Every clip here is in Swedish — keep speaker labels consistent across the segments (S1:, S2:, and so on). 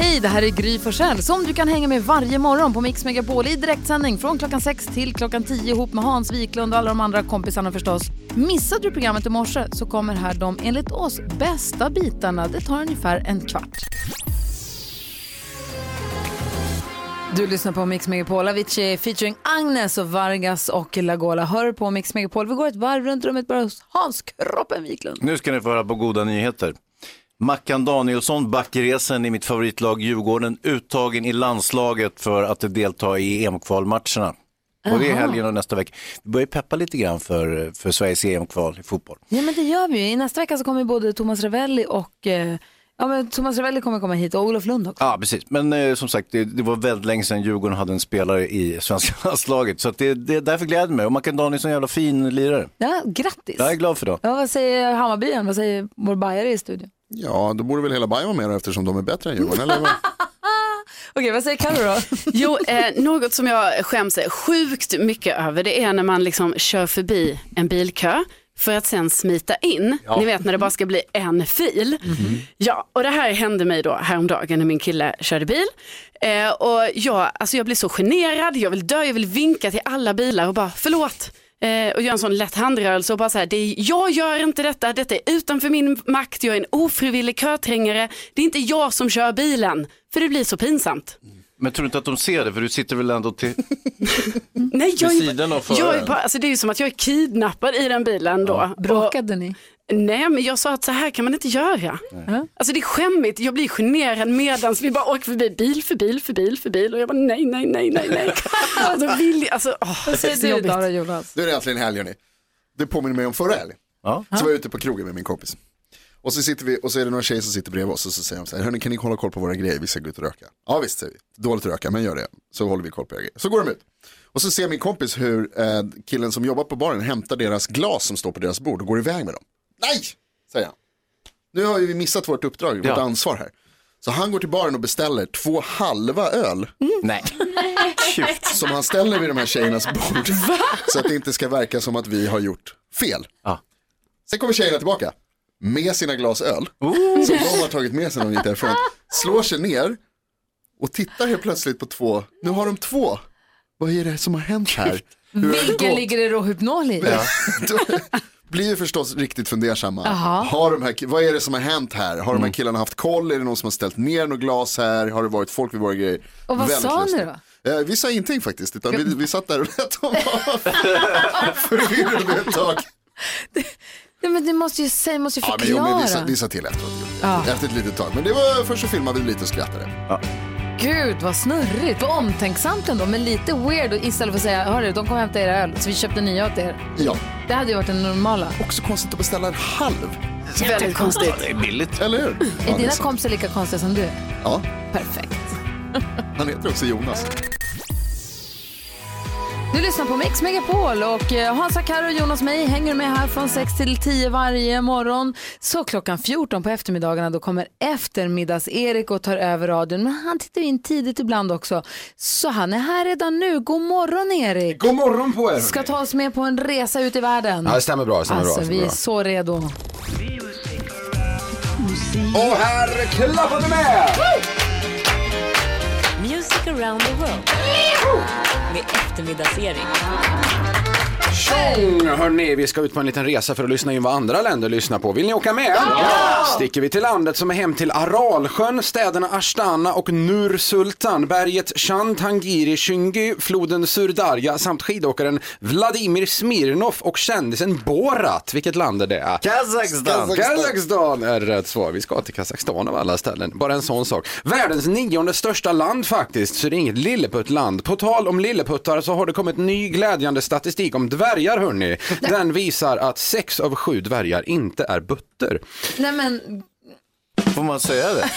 S1: Hej, det här är Gry Forssell som du kan hänga med varje morgon på Mix Megapol i direktsändning från klockan 6 till klockan 10 ihop med Hans Wiklund och alla de andra kompisarna förstås. Missade du programmet i morse så kommer här de enligt oss bästa bitarna. Det tar ungefär en kvart. Du lyssnar på Mix Megapol, Avicii featuring Agnes och Vargas och Lagola. Hör på Mix Megapol. Vi går ett varv runt rummet bara hos Hans Kroppen Wiklund.
S2: Nu ska ni få höra på goda nyheter. Mackan Danielsson, backresen i mitt favoritlag Djurgården, uttagen i landslaget för att delta i EM-kvalmatcherna. Och det är
S1: Aha.
S2: helgen och nästa vecka. Vi börjar peppa lite grann för, för Sveriges EM-kval i fotboll.
S1: Ja men det gör vi ju. I nästa vecka så kommer både Thomas Ravelli och eh, ja, men Thomas Ravelli kommer komma hit och Olof Lund också.
S2: Ja, precis. Men eh, som sagt, det, det var väldigt länge sedan Djurgården hade en spelare i svenska landslaget. Så att det, det, därför gläder det mig. Och Mackan Danielsson är en jävla fin lirare.
S1: Ja, grattis.
S2: Jag är glad för det.
S1: Ja, vad säger Hammarbyen? Vad säger vår bajare i studion?
S3: Ja, då borde väl hela Bayern vara med då, eftersom de är bättre än Djurgården, eller? vad?
S1: Okej, vad säger Carro då?
S4: Jo, eh, något som jag skäms sjukt mycket över det är när man liksom kör förbi en bilkö för att sen smita in. Ni vet när det bara ska bli en fil. Ja, och det här hände mig då häromdagen när min kille körde bil. Eh, och jag, alltså jag blir så generad, jag vill dö, jag vill vinka till alla bilar och bara förlåt. Eh, och göra en sån lätt handrörelse och bara så här, det är, jag gör inte detta, detta är utanför min makt, jag är en ofrivillig köträngare, det är inte jag som kör bilen, för det blir så pinsamt.
S2: Men tror du inte att de ser det? För du sitter väl ändå till...
S4: Nej, jag
S2: Vid
S4: är,
S2: sidan av
S4: jag är
S2: föraren.
S4: bara, alltså det är ju som att jag är kidnappad i den bilen då. Och,
S1: Bråkade ni?
S4: nej, men jag sa att så här kan man inte göra.
S1: Mm.
S4: Alltså det är skämmigt, jag blir generad medans vi bara åker förbi bil för bil för bil för bil och jag bara nej, nej, nej, nej, nej. alltså, vill, jag- alltså, åh,
S1: Vad säger
S4: så
S1: du
S4: jobbigt.
S1: Dara Jonas?
S3: Nu är det äntligen helg, hörni. Det påminner mig om förra helgen.
S2: Ja.
S3: Så var jag ute på krogen med min kompis. Och så sitter vi, och så är det några tjejer som sitter bredvid oss och så säger de så här, hörni kan ni hålla koll på våra grejer, vi ska gå ut och röka. Ja visst säger vi, dåligt att röka men gör det, så håller vi koll på era grejer. Så går de ut. Och så ser min kompis hur eh, killen som jobbar på baren hämtar deras glas som står på deras bord och går iväg med dem. Nej, säger han. Nu har ju vi missat vårt uppdrag, vårt
S2: Ja.
S3: ansvar här. Så han går till baren och beställer två halva öl
S2: Nej. Tjut.
S3: som han ställer vid de här tjejernas bord. Så att det inte ska verka som att vi har gjort fel.
S2: Ja.
S3: Sen kommer tjejerna tillbaka med sina glas öl. Som de har tagit med sig när de gick därifrån. Slår sig ner och tittar helt plötsligt på två. Nu har de två. Vad är det som har hänt här? Hur har det
S1: Vilken
S3: gått?
S1: ligger det Rohypnol i?
S3: Ja. Då blir ju förstås riktigt fundersamma.
S1: Jaha.
S3: Har de här, vad är det som har hänt här? Har
S2: Mm.
S3: de här killarna haft koll? Är det någon som har ställt ner något glas här? Har det varit folk vid våra grejer?
S1: Och vad sa ni
S3: lustiga. Eh, vi sa ingenting faktiskt, utan vi, vi satt där och lät dem vara förvirrade ett tag.
S1: Nej, men ni måste ju säga, måste ju
S3: Ja, men,
S1: förklara.
S3: jo, men vi, sa, vi sa till efteråt. Efter ett litet tag. Men det var först så filmade vi lite och skrattade.
S1: Gud vad snurrigt, vad omtänksamt ändå, men lite weird och istället för att säga, hörru de kommer hämta era öl, så vi köpte nya åt er.
S3: Ja,
S1: Det hade ju varit den normala.
S3: också konstigt att beställa en halv,
S4: Väldigt konstigt.
S2: Det är billigt.
S3: eller hur? Ja,
S1: Är
S3: det
S1: dina
S3: så.
S1: kompisar lika konstiga som du? är?
S3: Ja,
S1: Perfekt.
S3: han heter också Jonas.
S1: Du lyssnar på Mix Megapol och eh, Hansa, Karo och Jonas mig hänger med här från 6 till 10 varje morgon. Så klockan 14 på eftermiddagarna då kommer eftermiddags-Erik och tar över radion. Men han tittar in tidigt ibland också. Så han är här redan nu. God morgon Erik!
S5: God morgon på er.
S1: Ska ta oss med på en resa ut i världen.
S5: Ja, det stämmer bra. Det stämmer
S1: alltså
S5: bra, det
S1: vi är
S5: stämmer
S1: så redo.
S5: bra. Och här klappar vi med!
S6: Music around the world. Med eftermiddagsserie.
S5: Tjong! Hörrni, vi ska ut på en liten resa för att lyssna in vad andra länder lyssnar på. Vill ni åka med? Ja! Sticker vi till landet som är hem till Aralsjön, städerna Ashtana och Nur-Sultan, berget Shantangiri Shungi, floden Surdarya samt skidåkaren Vladimir Smirnov och kändisen Borat. Vilket land är det?
S2: Kazakstan.
S5: Kazakstan är rätt svar. Vi ska till Kazakstan av alla ställen. Bara en sån sak. Världens nionde största land faktiskt, så det är inget lilleputtland. På tal om lilleputtar så har det kommit ny glädjande statistik om dvärgar hörni. Den visar att sex av sju dvärgar inte är butter.
S1: Nej men,
S2: Får man säga det?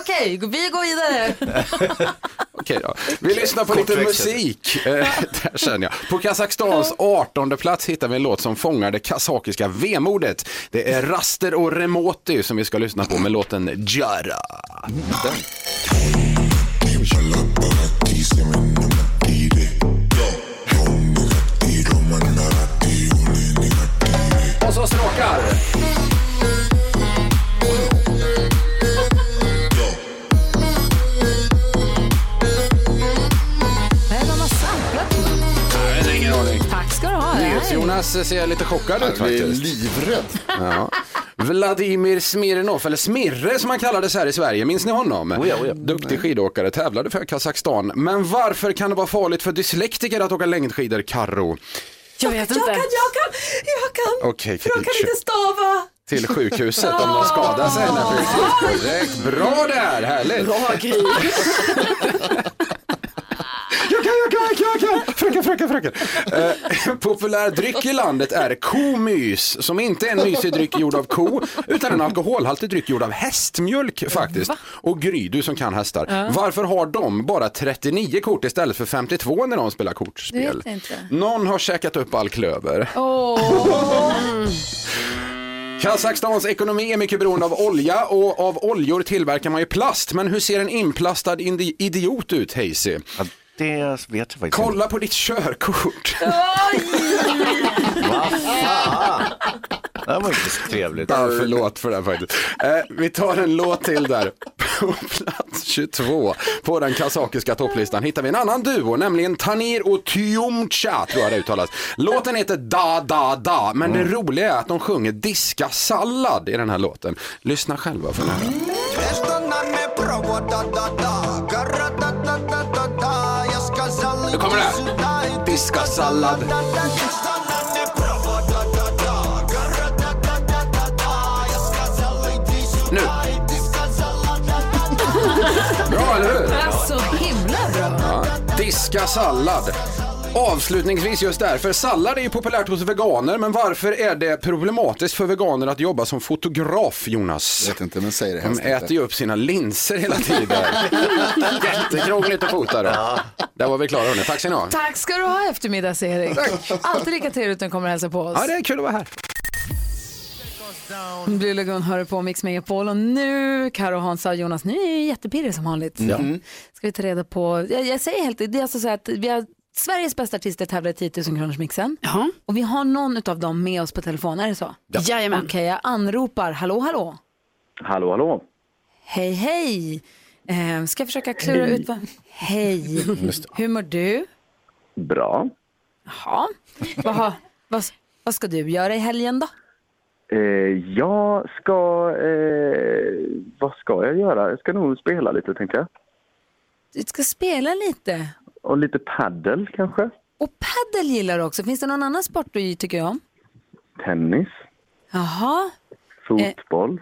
S1: Okej, vi går vidare.
S5: Okej då. Vi lyssnar på lite
S2: Kortväxel.
S5: musik. Eh, Där känner jag. På Kazakstans 18 plats hittar vi en låt som fångar det kazakiska vemodet. Det är Raster och Remoti som vi ska lyssna på med låten Jara. Och så stråkar.
S1: Nej, de har samplat. Tack ska du ha. Nej.
S5: Jonas ser lite chockad ut
S3: Jag är
S5: faktiskt.
S3: livrädd.
S5: Ja. Vladimir Smirnov, eller Smirre som han kallades här i Sverige, minns ni honom?
S2: Oja, oja.
S5: Duktig skidåkare, tävlade för Kazakstan. Men varför kan det vara farligt för dyslektiker att åka längdskidor, Karro?
S4: Jag vet inte.
S7: kan, jag kan.
S5: Okej,
S7: För de kan inte stava.
S5: till sjukhuset om de skadar sig. Nej, precis. Korrekt. Bra där, härligt. Bra Gry. Jag kan, jag kan, jag kan! Fröken, fröken, fröken! Eh, populär dryck i landet är komys, som inte är en mysig dryck gjord av ko, utan en alkoholhaltig dryck gjord av hästmjölk faktiskt. Och Gry, du som kan hästar, varför har de bara 39 kort istället för 52 när de spelar
S1: Det
S5: kortspel?
S1: vet jag inte.
S5: Någon har käkat upp all klöver. Kazakstans ekonomi är mycket beroende av olja och av oljor tillverkar man ju plast. Men hur ser en inplastad indi- idiot ut, Hazy?
S2: Ja, det vet jag faktiskt inte.
S5: Kolla på ditt körkort.
S2: Det här var inte så trevligt.
S5: Ja, förlåt för det här faktiskt. Eh, vi tar en låt till där. På plats 22 på den kazakiska topplistan hittar vi en annan duo, nämligen Tanir och Tyumcha tror jag det uttalas. Låten heter Da Da Da, men det roliga är att de sjunger diska sallad i den här låten. Lyssna själva för den här. Nu kommer det här. Diska sallad. Nu. Bra, eller hur?
S1: Så Alltså, himla bra.
S5: Diska sallad. Avslutningsvis just därför, sallad är ju populärt hos veganer, men varför är det problematiskt för veganer att jobba som fotograf, Jonas?
S3: Jag vet inte, men säg det
S5: De
S3: helst
S5: äter
S3: inte.
S5: ju upp sina linser hela tiden. Jättekrångligt att fota då. Där var vi klara hörni, tack ska ni ha.
S1: Tack ska du ha eftermiddags-Erik. Alltid lika trevligt när du kommer och hälsar på oss.
S5: Ja, det är kul att vara här.
S1: Blue Lagoon hör på Mix Megapol och nu, Karo, Hansa och Jonas, nu är jag jättepirrig som vanligt. Ja. Ska vi ta reda på, jag, jag säger helt, det är alltså så här att vi har Sveriges bästa artister tävlar i 10 000 kronors mixen
S4: Jaha.
S1: och vi har någon av dem med oss på telefon, är det så?
S4: Jajamän.
S1: Okej, jag anropar, hallå hallå,
S8: Hallå, hallå.
S1: hej hej, eh, ska jag försöka klura ut vad, hej, hur mår du?
S8: Bra.
S1: Jaha, vad, har- vad, vad ska du göra i helgen då?
S8: Eh, jag ska... Eh, vad ska jag göra? Jag ska nog spela lite, tänkte jag.
S1: Du ska spela lite
S8: Och lite paddel kanske.
S1: och padel gillar du också, finns det någon annan sport du tycker om?
S8: Tennis.
S1: Jaha.
S8: Fotboll.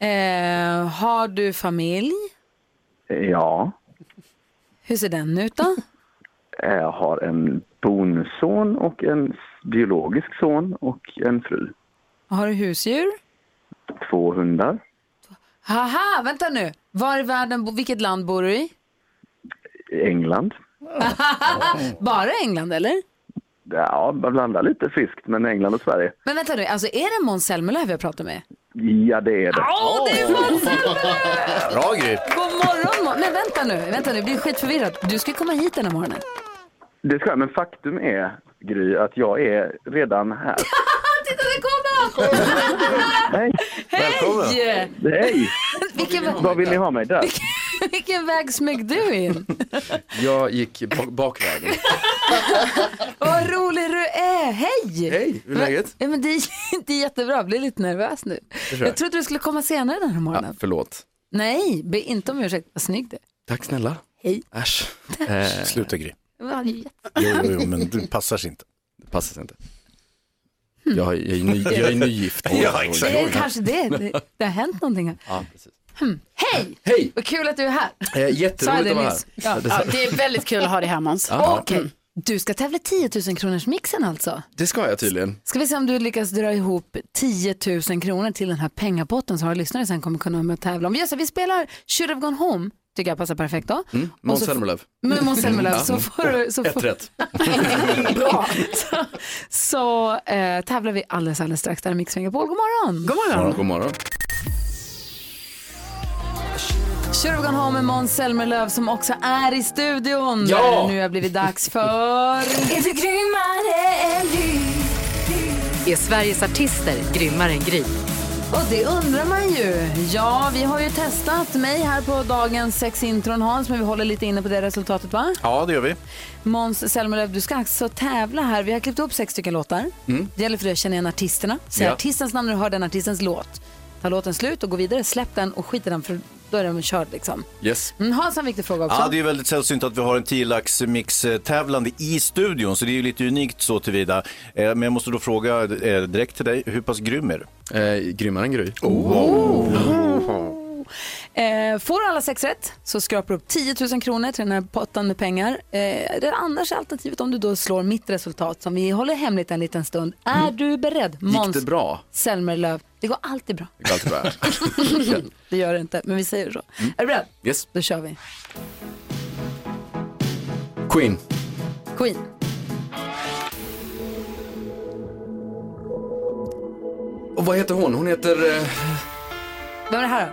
S1: Eh, har du familj?
S8: Eh, Ja.
S1: Hur ser den ut då?
S8: Eh, Jag har en bonusson och en s- biologisk son och en fru.
S1: Har du husdjur?
S8: Två hundar.
S1: Haha, vänta nu. Var i världen, bo- vilket land bor du i?
S8: I England.
S1: Bara England eller?
S8: Ja, man blandar lite friskt, men England och Sverige.
S1: Men vänta nu, alltså är det Måns Zelmerlöw jag pratar med?
S8: Ja, det är det.
S1: Åh, det är Måns Zelmerlöw!
S2: Bra Gry.
S1: God morgon Måns! Nej vänta nu, vänta nu, jag blir skitförvirrad. Du ska komma hit den här morgonen.
S8: Det ska jag, men faktum är, Gry, att jag är redan här.
S1: Titta, där kom han!
S8: Hej!
S2: Välkommen.
S1: Yeah.
S8: Hej!
S1: Vilken, vä-
S8: Vad vill ni ha mig där?
S1: vilken väg smög du in?
S9: Jag gick bak- bakvägen.
S1: Vad rolig du är! Hej!
S9: Hej, hur är läget?
S1: Ja, men det, är, det är jättebra, jag blir lite nervös nu. Jag trodde du skulle komma senare den här morgonen.
S9: Ja, förlåt.
S1: Nej, be inte om ursäkt, vad snygg du är.
S9: Tack snälla.
S1: Hej.
S9: Äsch. Eh,
S2: Sluta Gry.
S1: Det var jätte-
S2: Jo, jo, jo, men du passar sig inte.
S9: det passar sig inte. Jag, har- jag, är, ny, jag är nygift.
S2: Ja, exakt.
S1: Det är kanske det, det, det har hänt någonting här. Hmm.
S9: Ja, precis.
S1: Hej!
S9: Hej!
S1: Vad kul att du är här.
S9: Eh,
S1: Sa jag
S9: jätteroligt
S1: det
S9: att vara här.
S1: nyss? Ja.
S4: Ja, det är väldigt kul att ha dig här Måns.
S9: Ja.
S1: Okej, Du ska tävla i 10 000 kronors mixen alltså.
S5: Mm. Det ska jag tydligen.
S1: Ska vi se om du lyckas dra ihop 10 000 kronor till den här pengapotten som våra lyssnare sen kommer kunna vara med och tävla om. Vi, gör så här, vi spelar Should have gone home, tycker jag passar perfekt då.
S5: Mm.
S1: Och
S5: Måns
S1: så-
S5: Zelmerlöw.
S1: Men Måns Zelmerlöw, så
S5: Mm.
S1: får du- så
S5: Ett
S1: får-
S5: rätt.
S1: Bra. så så eh, tävlar vi alldeles, alldeles strax. Där är Mix Megapol. God morgon! God
S5: God morgon.
S1: Should have gone home med Måns Zelmerlöw som också är i studion.
S6: Ja!
S1: Där det nu har blivit dags för...
S6: Är du grymmare än du?
S10: Är Sveriges artister grymmare än Gry?
S1: Och det undrar man ju. Ja, vi har ju testat mig här på dagens sex intron Hans, men vi håller lite inne på det resultatet va?
S2: Ja, det gör vi.
S1: Måns Zelmerlöw, du ska alltså tävla här. Vi har klippt upp sex stycken låtar.
S2: Mm.
S1: Det gäller för dig att känna igen artisterna. Säg
S2: Ja.
S1: artistens namn när du hör den artistens låt. Ta låten slut och gå vidare, släpp den och skit i den för då är den körd liksom.
S2: Yes.
S1: Mm, Hans har en viktig fråga också.
S2: Ja, det är ju väldigt sällsynt att vi har en 10 mix tävlande i studion, så det är ju lite unikt så tillvida. Eh, Men jag måste då fråga eh, direkt till dig, hur pass grym är du?
S5: grymmare än Gry.
S1: Eh, får du alla sex rätt så skrapar du upp 10 000 kronor till den här potten med pengar. Eh, det är annars är alternativet om du då slår mitt resultat som vi håller hemligt en liten stund. Är du beredd?
S5: Mm. Gick
S1: Måns
S5: det bra?
S1: Zelmerlöw. Det går alltid bra.
S5: Det går alltid bra.
S1: det gör det inte, men vi säger så.
S5: Mm.
S1: Är du beredd?
S5: Yes.
S1: Då kör vi.
S5: Queen.
S1: Queen,
S5: Och vad heter hon? Hon heter... eh,
S1: vem är det här då?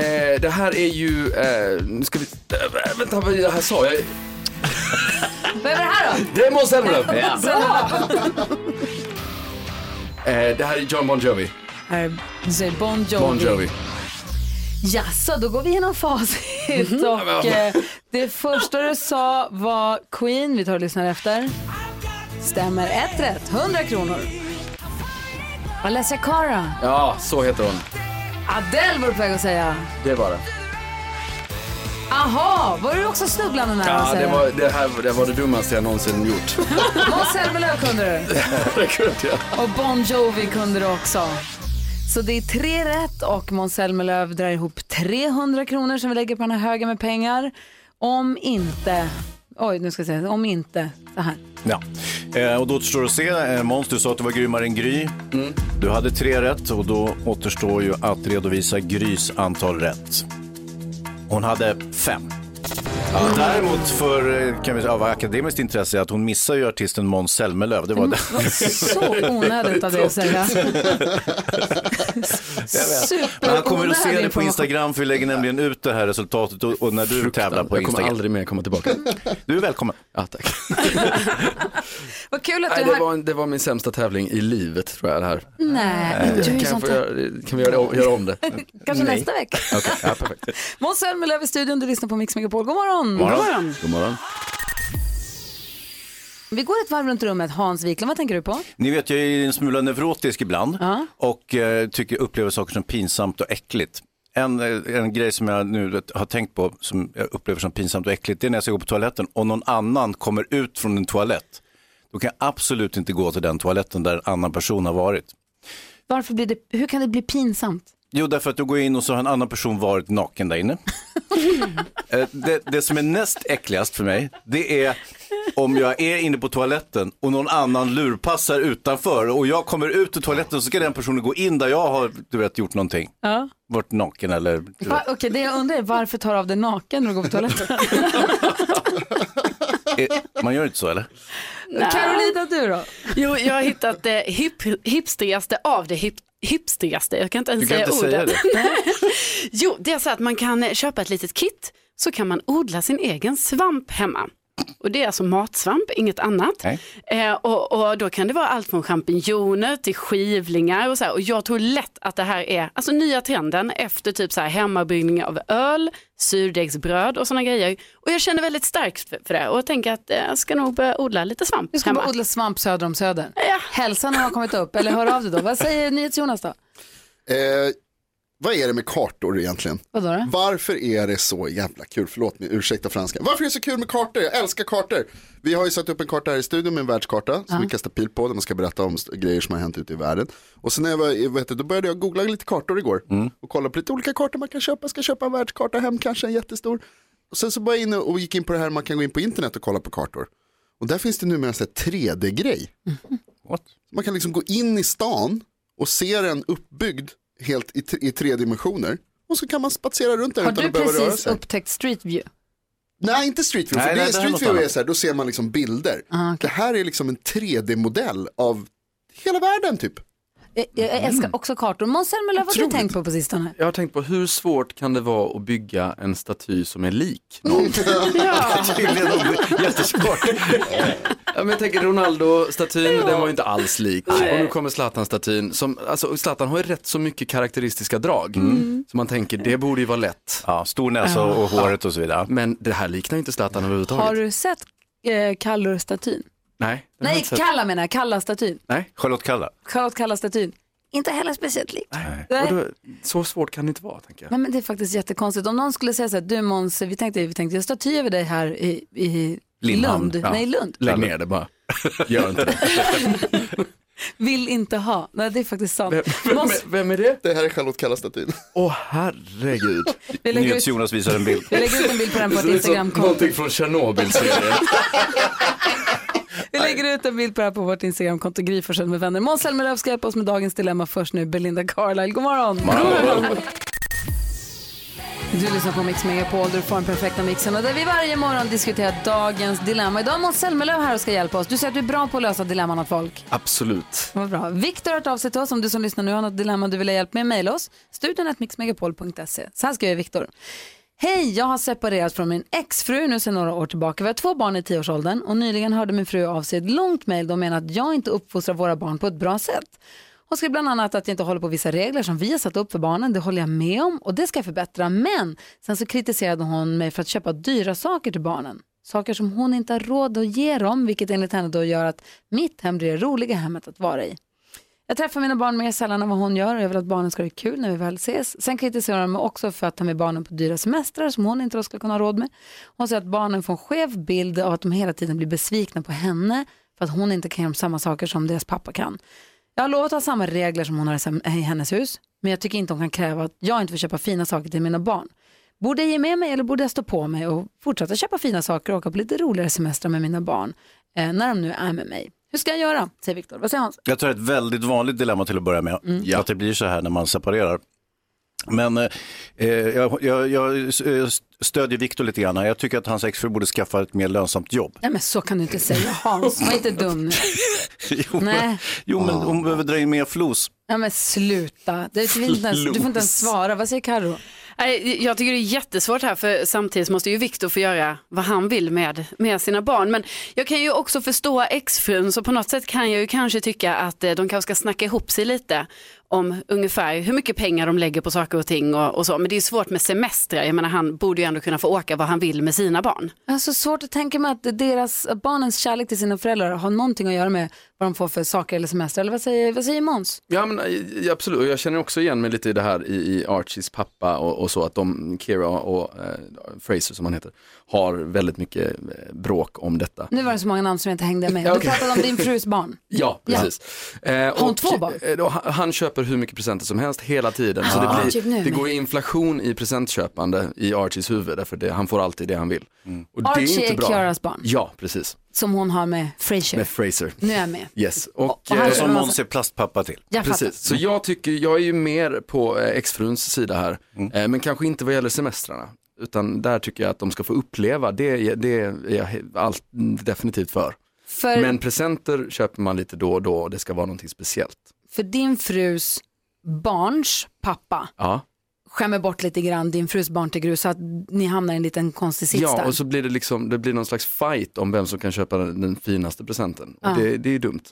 S5: Eh, det här är ju... Eh, nu ska vi... Äh, vänta, vad det här sa jag?
S1: Vem är det här då?
S5: Det är Måns Zelmerlöw.
S1: Ja.
S5: Eh, det här är John Bon Jovi.
S1: Här är Bon Jovi.
S5: Bon Jovi.
S1: Jaså, då går vi igenom facit.
S5: Mhm.
S1: Och, eh, det första du sa var Queen. Vi tar och lyssnar efter. Stämmer ett rätt. 100 kronor. Alessia Cara.
S5: Ja, så heter hon.
S1: Adele var du på väg att säga.
S5: Det var det.
S1: Aha, var du också snubblande nära att
S5: Ja, det
S1: säga?
S5: var det, här, det var det dummaste jag någonsin gjort.
S1: Måns Zelmerlöw kunde
S5: det kunde jag.
S1: du. Och Bon Jovi kunde du också. Så det är tre rätt och Måns Zelmerlöw drar ihop 300 kronor som vi lägger på den här högen med pengar. Om inte... Oj, nu ska jag säga om inte så här.
S2: Ja. Eh, Och då återstår att se, eh, Måns, du sa att du var grymmare än Gry. Du hade tre rätt och då återstår ju att redovisa Grys antal rätt. Hon hade fem. Däremot för eh, kan vi, säga, av akademiskt intresse att hon missar ju artisten Måns Zelmerlöw. Det var
S1: Mm.
S2: det.
S1: Så onödigt av dig att säga.
S2: Men han kommer att
S1: Superonödig
S2: se det på
S1: information.
S2: Instagram för vi lägger nämligen ut det här resultatet och, och när du tävlar på
S5: Jag kommer
S2: Instagram.
S5: aldrig mer komma tillbaka.
S2: Du är välkommen.
S5: Ja, tack.
S1: Vad kul att du
S5: Nej,
S1: är
S5: det,
S1: här.
S5: var, en- det var min sämsta tävling i livet tror jag det här.
S1: Nej, du är
S5: kan,
S1: ju
S5: jag
S1: sånt
S5: få
S1: där.
S5: göra, kan vi göra, om- göra om det?
S1: Kanske
S5: Nej.
S1: nästa vecka.
S5: Okej, ja, perfekt.
S1: Måns Zelmerlöw i studion, du lyssnar på Mix Megapol. God morgon!
S5: God morgon.
S1: Vi går ett varv runt rummet. Hans Wiklund, vad tänker du på?
S2: Ni vet, jag är en smula neurotisk ibland och eh, tycker upplever saker som pinsamt och äckligt. En, eh, en grej som jag nu vet, har tänkt på som jag upplever som pinsamt och äckligt det är när jag ska gå på toaletten och någon annan kommer ut från en toalett. Då kan jag absolut inte gå till den toaletten där en annan person har varit.
S1: Varför blir det, hur kan det bli pinsamt?
S2: Jo, därför att du går in och så har en annan person varit naken där inne. Eh, det, det som är näst äckligast för mig, det är om jag är inne på toaletten och någon annan lurpassar utanför och jag kommer ut ur toaletten så ska den personen gå in där jag har du vet, gjort någonting.
S1: Ja.
S2: Varit naken eller... du
S1: Va, okej, det jag undrar är varför tar du av dig naken när du går på toaletten?
S2: vet. Eh, Man gör inte så eller?
S1: Carolina, du då?
S4: Jo, jag har hittat det hip, hipstrigaste av det hip, hipstrigaste. Jag kan inte ens
S2: Du kan
S4: säga
S2: inte
S4: ordet.
S2: säga
S4: jo, det är så att man kan eh, köpa ett litet kit så kan man odla sin egen svamp hemma. Och det är alltså matsvamp, inget annat. Eh, och, och då kan det vara allt från champinjoner till skivlingar och så här. Och jag tror lätt att det här är alltså nya trenden efter typ så här hemmabryggning av öl, surdegsbröd och sådana grejer. Och jag känner väldigt starkt för, för det och jag tänker att eh, jag ska nog börja odla lite svamp
S1: Du ska bara odla svamp söder om Söder. Hälsan har kommit upp, eller hör av dig då. Vad säger NyhetsJonas då?
S3: Eh, vad är det med kartor egentligen?
S1: Vadå då?
S3: Varför är det så jävla kul? Förlåt mig, ursäkta franskan. Varför är det så kul med kartor? Jag älskar kartor. Vi har ju satt upp en karta här i studion med en världskarta som
S1: Ja.
S3: vi kastar pil på där man ska berätta om st- grejer som har hänt ute i världen. Och sen när jag var, i- vet du, då började jag googla lite kartor igår och kolla på lite olika kartor man kan köpa. Jag ska köpa en världskarta hem, kanske en jättestor. Och sen så var jag inne och gick in på det här man kan gå in på internet och kolla på kartor. Och där finns det numera en sån här 3D-grej. Så Man kan liksom gå in i stan och se den uppbyggd helt i, t- i tre dimensioner. Och så kan man spatsera runt där
S1: Har
S3: utan
S1: du
S3: att behöva röra
S1: precis
S3: sig.
S1: upptäckt Street View?
S3: Nej, inte Street View.
S1: Nej,
S3: för det
S1: nej,
S3: är
S1: det här är något
S3: Street View är
S1: annat.
S3: så här, då ser man liksom bilder.
S1: Ah,
S3: Det här är liksom en 3D-modell av hela världen typ.
S1: Jag,
S5: Mm.
S1: jag älskar också kartor. Måns Zelmerlöw, vad har du tänkt på på sistone?
S5: Jag har tänkt på hur svårt kan det vara att bygga en staty som är lik
S1: Mm. Ja.
S5: Tydligen jättesvårt. Ja, men jag tänker Ronaldo-statyn, den var ju inte alls lik.
S6: Nej.
S5: Och nu kommer Zlatan-statyn. Som, alltså, Zlatan har ju rätt så mycket karaktäristiska drag.
S6: Mm.
S5: Så man tänker, det borde ju vara lätt.
S2: Ja, stor näsa
S6: och- och
S2: håret och så vidare.
S5: Men det här liknar ju inte Zlatan överhuvudtaget.
S1: Har du sett eh, Kallur-statyn?
S5: Nej. den har jag
S1: Nej,
S5: inte sett.
S1: Kalla menar jag. Kalla-statyn.
S5: Nej.
S2: Charlotte Kalla.
S1: Charlotte Kalla-statyn. Inte heller speciellt lik. Nej.
S5: Och då, så svårt kan det inte vara, tänker jag.
S1: Nej, men det är faktiskt jättekonstigt. Om någon skulle säga så här, du Måns, vi tänkte, vi tänkte göra staty över dig här i, i
S5: Lindhamn.
S1: Lund.
S5: Ja.
S1: Nej, Lund.
S5: Lägg ner det bara. Gör inte det.
S1: Vill inte ha. Nej, det är faktiskt sant. Måns,
S5: är det?
S3: Det här är Charlotte Kalla-statyn.
S5: Åh herregud.
S1: Vi lägger ut- NyhetsJonas
S2: visar en bild.
S1: Vi lägger ut en bild på den på
S5: Det
S1: ett
S5: ser ut som
S1: Instagramkonto.
S5: Någonting från Tjernobyl-serien.
S1: vi lägger ut en bild på det här på vårt Instagramkonto, Gry Forssell med vänner. Måns Zelmerlöw ska hjälpa oss med dagens dilemma. Först nu Belinda Carlisle. God morgon. Du lyssnar på Mix Megapol, där du får den perfekta mixen och där vi varje morgon diskuterar dagens dilemma. Idag är Måns Zelmerlöw här och ska hjälpa oss. Du säger att du är bra på att lösa dilemman åt folk.
S5: Absolut.
S1: Vad bra. Viktor har hört av sig till oss om du som lyssnar nu har något dilemma du vill ha hjälp med. Mejla oss, studion mixmegapol.se. Så här skriver Viktor. Hej, jag har separerat från min exfru nu sedan några år tillbaka. Vi har två barn i tioårsåldern och nyligen hörde min fru av sig ett långt mejl. De menar att jag inte uppfostrar våra barn på ett bra sätt. Hon skrev bland annat att jag inte håller på vissa regler som vi har satt upp för barnen. Det håller jag med om och det ska jag förbättra. Men sen så kritiserade hon mig för att köpa dyra saker till barnen. Saker som hon inte har råd att ge dem, vilket enligt henne då gör att mitt hem blir det roliga hemmet att vara i. Jag träffar mina barn mer sällan än vad hon gör och jag vill att barnen ska ha det kul när vi väl ses. Sen kritiserar hon mig också för att ta med barnen på dyra semestrar som hon inte då ska kunna ha råd med. Hon säger att barnen får en skev bild av att de hela tiden blir besvikna på henne för att hon inte kan ge dem samma saker som deras pappa kan. Jag har lovat att ha samma regler som hon har i sem- i hennes hus, men jag tycker inte hon kan kräva att jag inte får köpa fina saker till mina barn. Borde jag ge med mig eller borde jag stå på mig och fortsätta köpa fina saker och åka på lite roligare semestrar med mina barn eh, när de nu är med mig? Hur ska jag göra? säger Viktor. Vad säger Hans?
S2: Jag tror det är ett väldigt vanligt dilemma till att börja med,
S1: Mm.
S2: att det blir så här när man separerar. Men eh, eh, jag, jag, jag eh, stödjer Viktor lite grann. här. Jag tycker att hans exfru borde skaffa ett mer lönsamt jobb.
S1: Nej men så kan du inte säga Hans, var inte dum nu.
S2: jo,
S1: Nej. Ah.
S2: jo, men hon behöver dra in mer flos.
S1: Nej men sluta, du, du, vill inte ens, du får inte ens svara. Vad säger Karo?
S4: Nej, Jag tycker det är jättesvårt här för samtidigt måste ju Viktor få göra vad han vill med, med sina barn. Men jag kan ju också förstå exfrun så på något sätt kan jag ju kanske tycka att eh, de kanske ska snacka ihop sig lite om ungefär hur mycket pengar de lägger på saker och ting och, och så. Men det är ju svårt med semestrar, jag menar han borde ju ändå kunna få åka vad han vill med sina barn.
S1: Jag har så Alltså, svårt att tänka mig att deras, att barnens kärlek till sina föräldrar har någonting att göra med vad de får för saker eller semester. Eller vad säger, vad säger Måns?
S5: Ja men eh, absolut, och jag känner också igen mig lite i det här i, i Archies pappa och, och så att de, Kira och eh, Fraser som han heter, har väldigt mycket eh, bråk om detta.
S1: Nu var det så många namn som jag inte hängde med.
S5: Ja,
S1: Du
S5: okej.
S1: pratade om din frus barn.
S5: Ja,
S1: Ja.
S5: precis. Eh,
S1: hon
S5: och,
S1: två barn?
S5: eh, då, han, han köper hur mycket presenter som helst hela tiden. Så
S1: Ah.
S5: det,
S1: Typ nu
S5: blir, det
S1: med.
S5: går ju inflation i presentköpande i Archies huvud, därför det, han får alltid det han vill. Och
S1: Mm. Archie
S5: det är, inte
S1: är
S5: bra.
S1: Kiaras barn.
S5: Ja, precis.
S1: Som hon har med Frasier.
S5: Med Fraser.
S1: Nu är jag med.
S5: Yes. Och,
S1: och han
S5: eh,
S1: som Måns
S2: är plastpappa till.
S1: Jag fattar.
S5: Precis, så jag tycker, jag är ju mer på eh, exfruns sida här,
S1: Mm.
S5: eh, men kanske inte vad gäller semestrarna. Utan där tycker jag att de ska få uppleva, det, det är jag he- allt, definitivt för.
S1: För-
S5: Men presenter köper man lite då och då och det ska vara någonting speciellt.
S1: För din frus barns pappa
S5: Ja.
S1: skämmer bort lite grann din frus barn till grus så att ni hamnar i en liten konstig sits
S5: Ja,
S1: där.
S5: och så blir det liksom, det blir någon slags fight om vem som kan köpa den, den finaste presenten.
S1: Ja.
S5: Och det, det är ju dumt.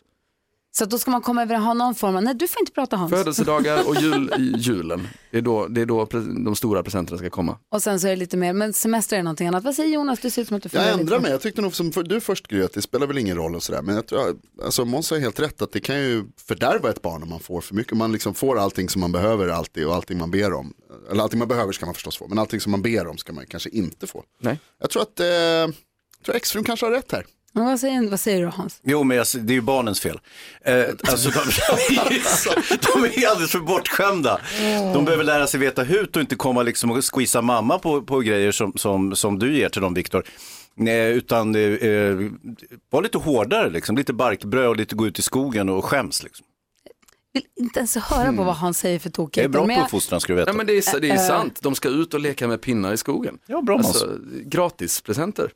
S1: Så att då ska man komma över och ha någon form av, nej du får inte prata Hans.
S5: Födelsedagar och jul, i julen, det är då, det är då pre- de stora presenterna ska komma.
S1: Och sen så är det lite mer, men semester är någonting annat. Vad säger Jonas? Du ser ut som att du
S3: Jag
S1: funderar
S3: ändrar
S1: lite.
S3: mig, jag tyckte nog som för, du först Gry att det spelar väl ingen roll och sådär. Men jag tror, alltså Måns har helt rätt att det kan ju fördärva ett barn om man får för mycket. Om Man liksom får allting som man behöver alltid och allting man ber om. Eller allting man behöver ska man förstås få, men allting som man ber om ska man kanske inte få.
S5: Nej.
S3: Jag tror att eh, jag tror exfrun kanske har rätt här.
S1: Men vad, säger, vad säger du Hans?
S2: Jo, men jag, det är ju barnens fel. Eh, alltså, de, de är alldeles för bortskämda. De behöver lära sig veta hut och inte komma liksom och squeeza mamma på, på grejer som, som, som du ger till dem, Viktor. Nej, utan eh, var lite hårdare, liksom. lite barkbröd och lite gå ut i skogen och skäms. Liksom.
S1: vill inte ens höra på vad han säger för tokigt.
S2: Jag Mm. är bra
S1: Men
S2: på uppfostran, ska du veta.
S5: Ja, men det är, det är
S1: Eh,
S5: sant, de ska ut och leka med pinnar i skogen. Alltså,
S2: Ja, bra
S5: Gratispresenter.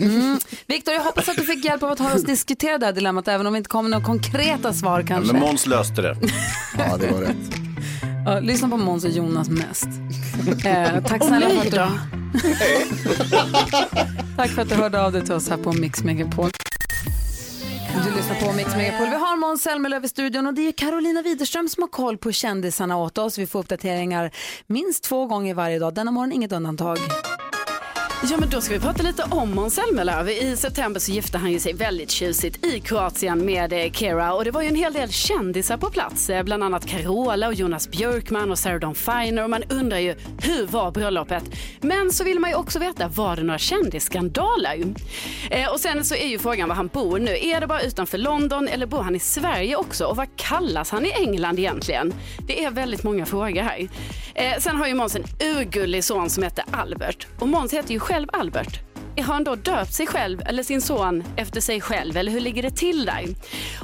S1: Mm. Viktor, jag hoppas att du fick hjälp av att höra oss diskutera det här dilemmat, även om vi inte kommer med några konkreta svar
S2: Ja,
S1: kanske.
S2: men Måns löste det.
S3: ja, det var rätt.
S1: Ja, lyssna på Måns och Jonas mest. Eh, tack
S4: Och
S1: snälla
S4: mig
S1: för att du... Tack för att du hörde av dig till oss här på Mix Megapol. Du lyssnar på Mix Megapol. Vi har Måns Zelmerlöw i studion och det är Carolina Widerström som har koll på kändisarna åt oss. Vi får uppdateringar minst två gånger varje dag. Denna morgon inget undantag.
S4: Ja, men då ska vi prata lite om Måns Zelmerlöw. I september så gifte han ju sig väldigt tjusigt i Kroatien med eh, Kera och det var ju en hel del kändisar på plats, eh, bland annat Carola och Jonas Björkman och Sarah Dawn Finer och man undrar ju hur var bröllopet? Men så vill man ju också veta, var det några kändisskandaler? Eh, och sen så är ju frågan var han bor nu. Är det bara utanför London eller bor han i Sverige också? Och vad kallas han i England egentligen? Det är väldigt många frågor här. Eh, sen har ju Måns en urgullig son som heter Albert. Och Måns heter ju själv Albert. Har han då döpt sig själv eller sin son efter sig själv? Eller hur ligger det till där?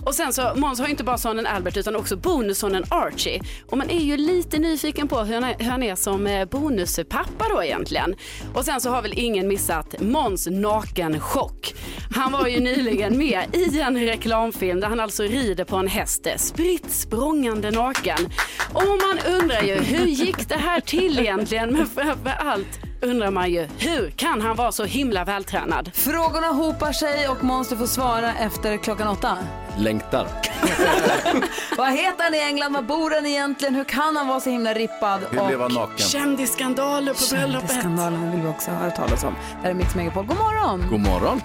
S4: Och sen så, Måns har ju inte bara sonen Albert utan också bonussonen Archie. Och man är ju lite nyfiken på hur han är, hur han är som eh, bonuspappa då egentligen. Och sen så har väl ingen missat Måns nakenchock. Han var ju nyligen med i en reklamfilm där han alltså rider på en häst, spritt språngande naken. Och man undrar ju, hur gick det här till egentligen? Men framför allt undrar man ju, hur kan han vara så himla vältränad?
S1: Frågorna hopar sig och Måns du får svara efter klockan åtta.
S5: Längtar.
S1: Vad heter han i England? Var bor han egentligen? Hur kan han vara så himla rippad?
S2: Hur blev han naken?
S4: Kändisskandaler på bröllopet.
S1: Kändisskandalerna vill vi också höra talas om. Det här är Mix Megapol. God morgon!
S5: God morgon.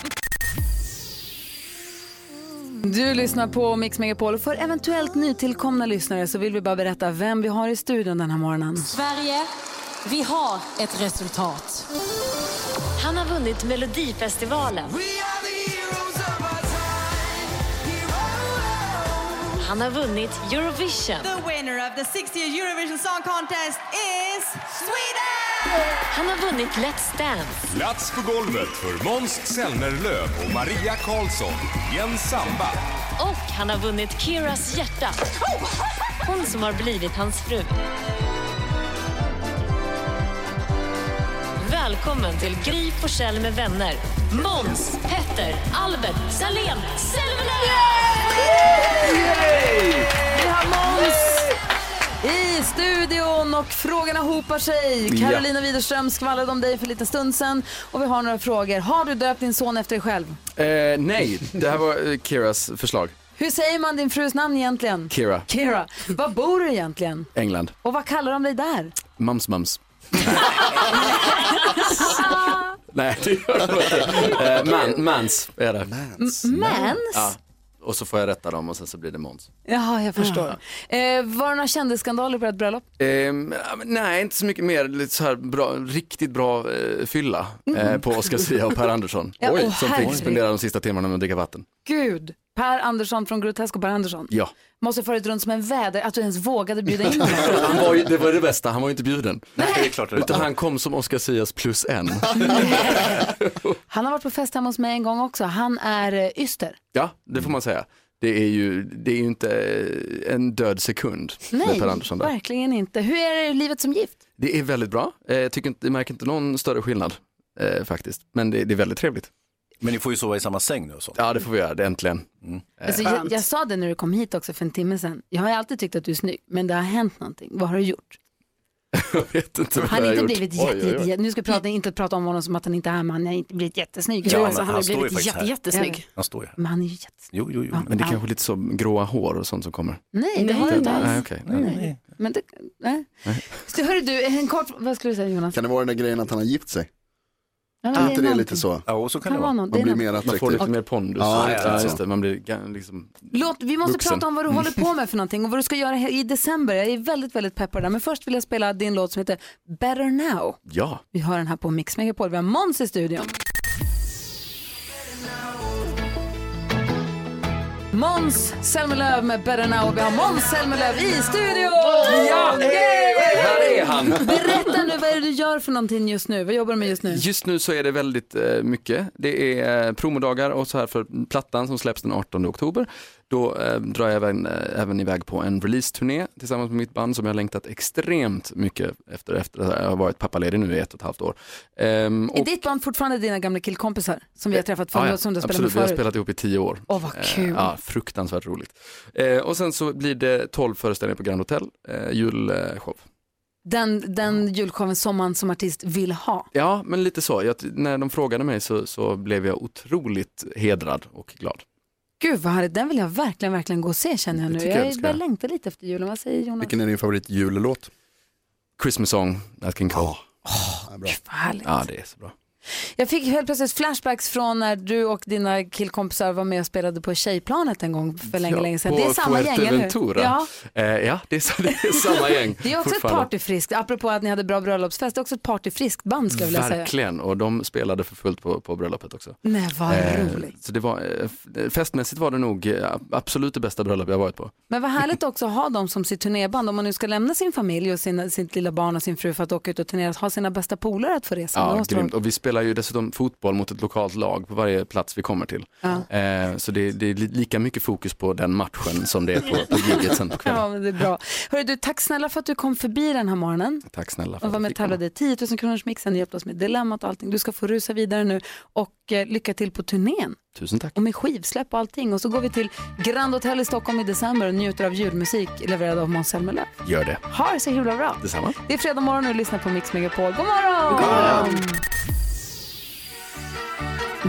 S1: Du lyssnar på Mix Megapol. För eventuellt nytillkomna lyssnare så vill vi bara berätta vem vi har i studion den här morgonen.
S11: Sverige, vi har ett resultat. Han har vunnit Melodifestivalen. Han har vunnit Eurovision.
S12: winner of the 60th Eurovision Song Contest is Sweden!
S11: Han har vunnit Let's Dance.
S13: Plats på golvet för Måns Zelmerlöw och Maria Karlsson i en samba.
S11: Och han har vunnit Kiras hjärta. Hon som har blivit hans fru. Välkommen till Gry Forssell med vänner. Måns, Petter, Albert, Salén, Zelmerlöw!
S1: Vi har Måns i studion och frågorna hopar sig.
S11: Ja.
S1: Carolina Widerström skvallrade om dig för lite stund sedan och vi har några frågor. Har du döpt din son efter dig själv?
S5: Eh, nej, det här var eh, Kiras förslag.
S1: Hur säger man din frus namn egentligen?
S5: Kira,
S1: Kira. Var bor du egentligen?
S5: England.
S1: Och vad kallar de dig där?
S5: Mums mums. Nej, det gör det inte. Eh, man, mans är det. Mans?
S1: M- mans?
S5: Ja. Och så får jag rätta dem och sen så blir det Måns.
S1: Jaha, jag förstår. Eh, var det några kändiskanaler på ert bröllop?
S5: Ehm, ja, men nej, inte så mycket mer. Lite så här bra, riktigt bra eh, fylla eh, på Oscar Zia och Per Andersson.
S1: Mm. Ja, åh,
S5: som
S1: herregud.
S5: fick spendera de sista timmarna med att dricka vatten.
S1: Gud, Per Andersson från Grotesco Per Andersson.
S5: Ja,
S1: Måste ha farit runt som en väder, att du ens vågade bjuda in honom.
S5: han var ju, det var ju det bästa, han var ju inte bjuden. Nej,
S2: det är klart det
S5: Utan han kom som Oscar Zias plus en.
S1: Han har varit på fest hemma hos mig en gång också. Han är eh, yster.
S5: Ja, det får man säga. Det är ju, det är ju inte eh, en död sekund med
S1: Nej,
S5: Per Andersson där.
S1: verkligen inte. Hur är det i livet som gift?
S5: Det är väldigt bra. Eh, Jag tycker inte, jag märker inte någon större skillnad eh, faktiskt. Men det, det är väldigt trevligt.
S2: Men ni får ju sova i samma säng nu och sånt.
S5: Ja, det får vi göra. Det, äntligen. Eh,
S1: Alltså, jag, jag sa det när du kom hit också för en timme sedan. Jag har ju alltid tyckt att du är snygg, men det har hänt någonting. Vad har du gjort?
S5: vet inte vad
S1: Han
S5: jag
S1: har
S5: har
S1: inte
S5: gjort.
S1: blivit jätte, jätte, jätte, nu ska vi prata, inte prata om honom som att han inte är här, men han har inte blivit jättesnygg.
S5: Ja, Jo, men alltså, han han har står ju blivit faktiskt jätte- här. jättesnygg.
S1: Jag vet.
S2: Han står ju här.
S1: Men han är ju jätte...
S2: Jo, jo, jo.
S5: Men det är kanske lite så gråa hår och sånt som kommer. Typ.
S1: Nej, det har du inte
S5: Nej,
S1: alls.
S5: okej.
S1: Nej. Men det, nej. Så hörru du, en kort, vad skulle du säga Jonas?
S3: Kan det vara den där grejen att han har gift sig?
S1: Ja, men
S3: Är
S1: det
S3: inte
S1: är
S3: det
S1: någonting.
S3: lite så?
S2: Ja, och så
S1: kan Kan det vara vara. någon- det
S3: Man
S1: är
S3: blir
S1: något.
S3: mer
S1: Man får
S3: attraktiv.
S5: lite mer pondus.
S3: Ja,
S5: Ja,
S3: lite
S5: just
S3: så.
S5: det. Man blir ga- liksom...
S1: Låt, vi måste
S5: Vuxen.
S1: prata om vad du håller på med för någonting och vad du ska göra he- i december. Jag är väldigt, väldigt peppad där. Men först vill jag spela din låt som heter Better Now.
S5: Ja.
S1: Vi har den här på Mix Megapol. Vi har Måns i studion. Måns Zelmerlöw med Better Now. Och vi har Måns Zelmerlöw i studion!
S14: Ja, hej, här är han.
S1: Berätta nu, vad är det du gör för någonting just nu? Vad jobbar du med just
S3: Mm.
S1: nu?
S5: Just nu så är det väldigt eh, mycket. Det är eh, promodagar och så här för plattan som släpps den 18 oktober. Då eh, drar jag även, eh, även iväg på en releaseturné tillsammans med mitt band som jag har längtat extremt mycket efter. efter att jag har varit pappaledig nu i ett och ett halvt år. Ehm,
S1: Är ditt band fortfarande dina gamla killkompisar som vi har träffat förut,
S5: Ja, ja,
S1: som du har spelat
S5: Absolut, vi
S1: med
S5: har
S1: förut?
S5: spelat ihop i tio år.
S1: Åh, vad kul.
S5: Eh, ja, fruktansvärt roligt. Eh, och sen så blir det 12 föreställningar på Grand Hotel, eh, julshow.
S1: Den, den julshowen som man som artist vill ha.
S5: Ja, men lite så. Jag, när de frågade mig så, så blev jag otroligt hedrad och glad.
S1: Gud vad härligt, den vill jag verkligen, verkligen gå och se känner jag nu.
S5: tycker
S1: Jag,
S5: jag vi ska
S1: börjar
S5: göra.
S1: längta lite efter julen, vad säger Jonas?
S5: är din favorit jullåt? Christmas song, Nat King Cole.
S1: Gud, vad härligt.
S5: Ja, det är så bra.
S1: Jag fick helt plötsligt flashbacks från när du och dina killkompisar var med och spelade på Tjejplanet en gång för länge,
S5: Ja,
S1: länge sedan.
S5: på
S1: Det är samma gäng, eller hur?
S5: Fuerteventura.
S1: Ja.
S5: Eh, ja, det är, sa- det är samma gäng.
S1: Det är också ett
S5: fortfarande.
S1: partyfriskt, apropå att ni hade bra bröllopsfest, det är också ett partyfriskt band skulle jag vilja säga.
S5: Verkligen, och de spelade för fullt på, på bröllopet också.
S1: Nej, vad
S5: Eh,
S1: roligt.
S5: Så det var, eh, f- festmässigt var det nog eh, absolut det bästa bröllop jag varit på.
S1: Men vad härligt också att ha dem som sitt turnéband, om man nu ska lämna sin familj och sina, sitt lilla barn och sin fru för att åka ut och turnera, att ha sina bästa polare att få resa med. Det
S5: Ja,
S1: måste vara-
S5: grymt. Och vi spelar ju dessutom fotboll mot ett lokalt lag på varje plats vi kommer till.
S1: Ja.
S5: Eh, så det, det är li- lika mycket fokus på den matchen som det är på, på giget sen på kvällen.
S1: Ja, men det är bra. Hörru, du, tack snälla för att du kom förbi den här morgonen.
S5: Tack snälla för
S1: Och var
S5: att
S1: med och
S5: jag fick komma.
S1: tävlade i 10 000 kronors mixen, hjälpte oss med dilemmat och allting. Du ska få rusa vidare nu och eh, lycka till på turnén.
S5: Tusen tack.
S1: Och med skivsläpp och allting. Och så går vi till Grand Hotel i Stockholm i december och njuter av julmusik levererad av Måns Zelmerlöw.
S5: Gör det.
S1: Ha det så himla bra.
S5: Detsamma.
S1: Det är fredag morgon och du lyssnar på Mix Megapol. God morgon!
S5: God morgon!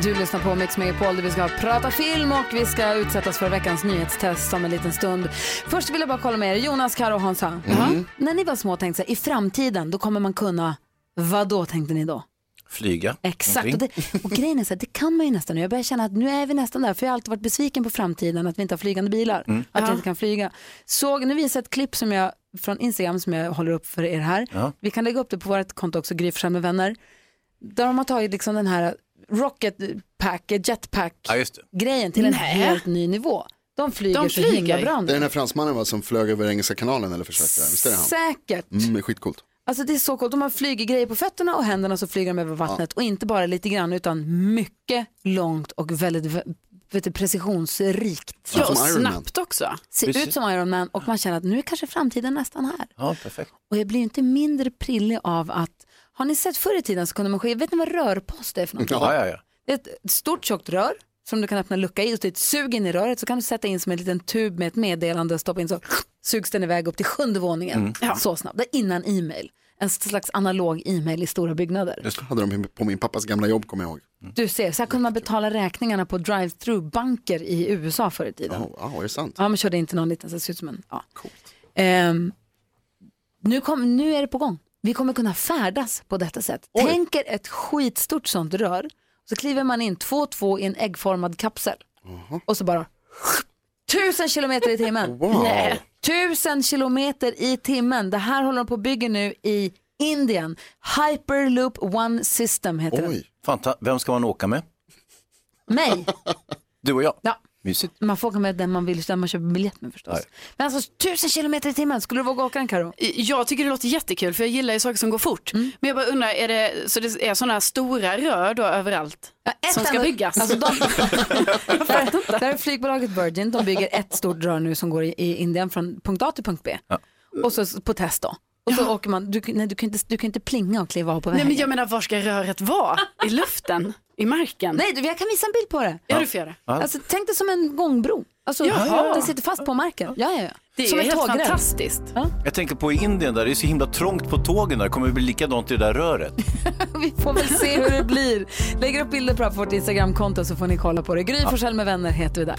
S1: Du lyssnar på Mix Megapol där vi ska prata film och vi ska utsättas för veckans nyhetstest om en liten stund. Först vill jag bara kolla med er, Jonas, Karo och Hansa.
S5: Mm.
S1: När ni var små tänkte jag, i framtiden då kommer man kunna, vad då tänkte ni då?
S2: Flyga.
S1: Exakt, och,
S2: Någonting.
S1: det, och grejen är så här, det kan man ju nästan nu. Jag börjar känna att nu är vi nästan där, för jag har alltid varit besviken på framtiden, att vi inte har flygande bilar,
S2: Mm.
S1: att vi
S2: Ja.
S1: inte kan flyga. Såg, nu visar jag ett klipp som jag, från Instagram som jag håller upp för er här.
S2: Ja.
S1: Vi kan lägga upp det på vårt konto också, Gry Forssell med vänner. Där de har tagit liksom den här rocket pack, jetpack
S2: Ja, just det.
S1: grejen till en
S2: Nej.
S1: helt ny nivå. De flyger,
S2: De
S1: så himla
S2: flyger.
S1: bra
S3: Det är
S1: nu.
S3: den här fransmannen va, som flög över Engelska kanalen eller försökte det? Visst är det han?
S1: Säkert.
S3: Mm, det är skitcoolt.
S1: Alltså det är så coolt, de har flyger grejer på fötterna och händerna så flyger de över vattnet och inte bara lite grann utan mycket långt och väldigt v- vet du, precisionsrikt.
S4: Ja, och snabbt också.
S1: Ser ut som Iron Man och man känner att nu är kanske framtiden nästan här.
S2: Ja, perfekt.
S1: Och jag blir ju inte mindre prillig av att, har ni sett förr i tiden så kunde man skicka, vet ni vad rörpost är för någonting?
S2: Ja, ja, ja.
S1: Det är ett stort tjockt rör som du kan öppna en lucka i och det är ett sug in i röret så kan du sätta in som en liten tub med ett meddelande och stoppa in så sugs den iväg upp till sjunde våningen
S3: Mm. Ja.
S1: så snabbt. Det är innan e-mail. En slags analog e-mail i stora byggnader.
S3: Det hade de på min pappas gamla jobb kommer jag ihåg.
S1: Du ser, så här kunde man betala räkningarna på drive-through-banker i USA förr i tiden.
S3: Ja, är det sant?
S1: Ja, man körde inte någon liten, så det ser ut som en, ja. Ehm, nu, kom, nu är det på gång. Vi kommer kunna färdas på detta sätt. Tänk er ett skitstort sånt rör. Så kliver man in två och två i en äggformad kapsel. Och så bara tusen kilometer i timmen.
S6: Wow. Nej.
S1: Tusen kilometer i timmen. Det här håller de på och bygger nu i Indien. Hyperloop One System heter det.
S2: Oj. Fanta, vem ska man åka med?
S1: Mig.
S2: Du och jag?
S1: Ja.
S2: Mysigt.
S1: Man får åka med den man vill, den man köper biljett med förstås. Men alltså tusen kilometer i timmen, skulle du våga åka den Karo?
S4: Jag tycker det låter jättekul för jag gillar ju saker som går fort.
S11: Mm.
S4: Men jag bara undrar, är det, så det är sådana här stora rör då överallt som ska
S1: enda-
S4: byggas?
S1: alltså, Där är flygbolaget Virgin, de bygger ett stort rör nu som går i, i Indien från punkt A till punkt B. Och så s- på test då. Och så åker man, du, nej, du, kan inte, du kan inte plinga och kliva av på
S4: Nej
S1: vägen.
S4: men jag menar var ska röret vara? I luften? I marken?
S1: Nej, du, jag kan visa en bild på det.
S4: Ja, du får göra det.
S1: Alltså, tänk dig som en gångbro. Alltså,
S4: Jaha.
S1: Den sitter fast på marken. Ja, ja, ja.
S4: Det är
S1: som
S4: ju
S1: en
S4: helt
S1: tågräls.
S4: fantastiskt.
S1: Ja.
S2: Jag tänker på i Indien där, det är så himla trångt på tågen där. Det kommer bli likadant i det där röret.
S1: Vi får väl se hur det blir. Lägger upp bilder på det här på vårt Instagramkonto så får ni kolla på det. Gry
S2: Ja.
S1: Forssell med vänner heter vi där.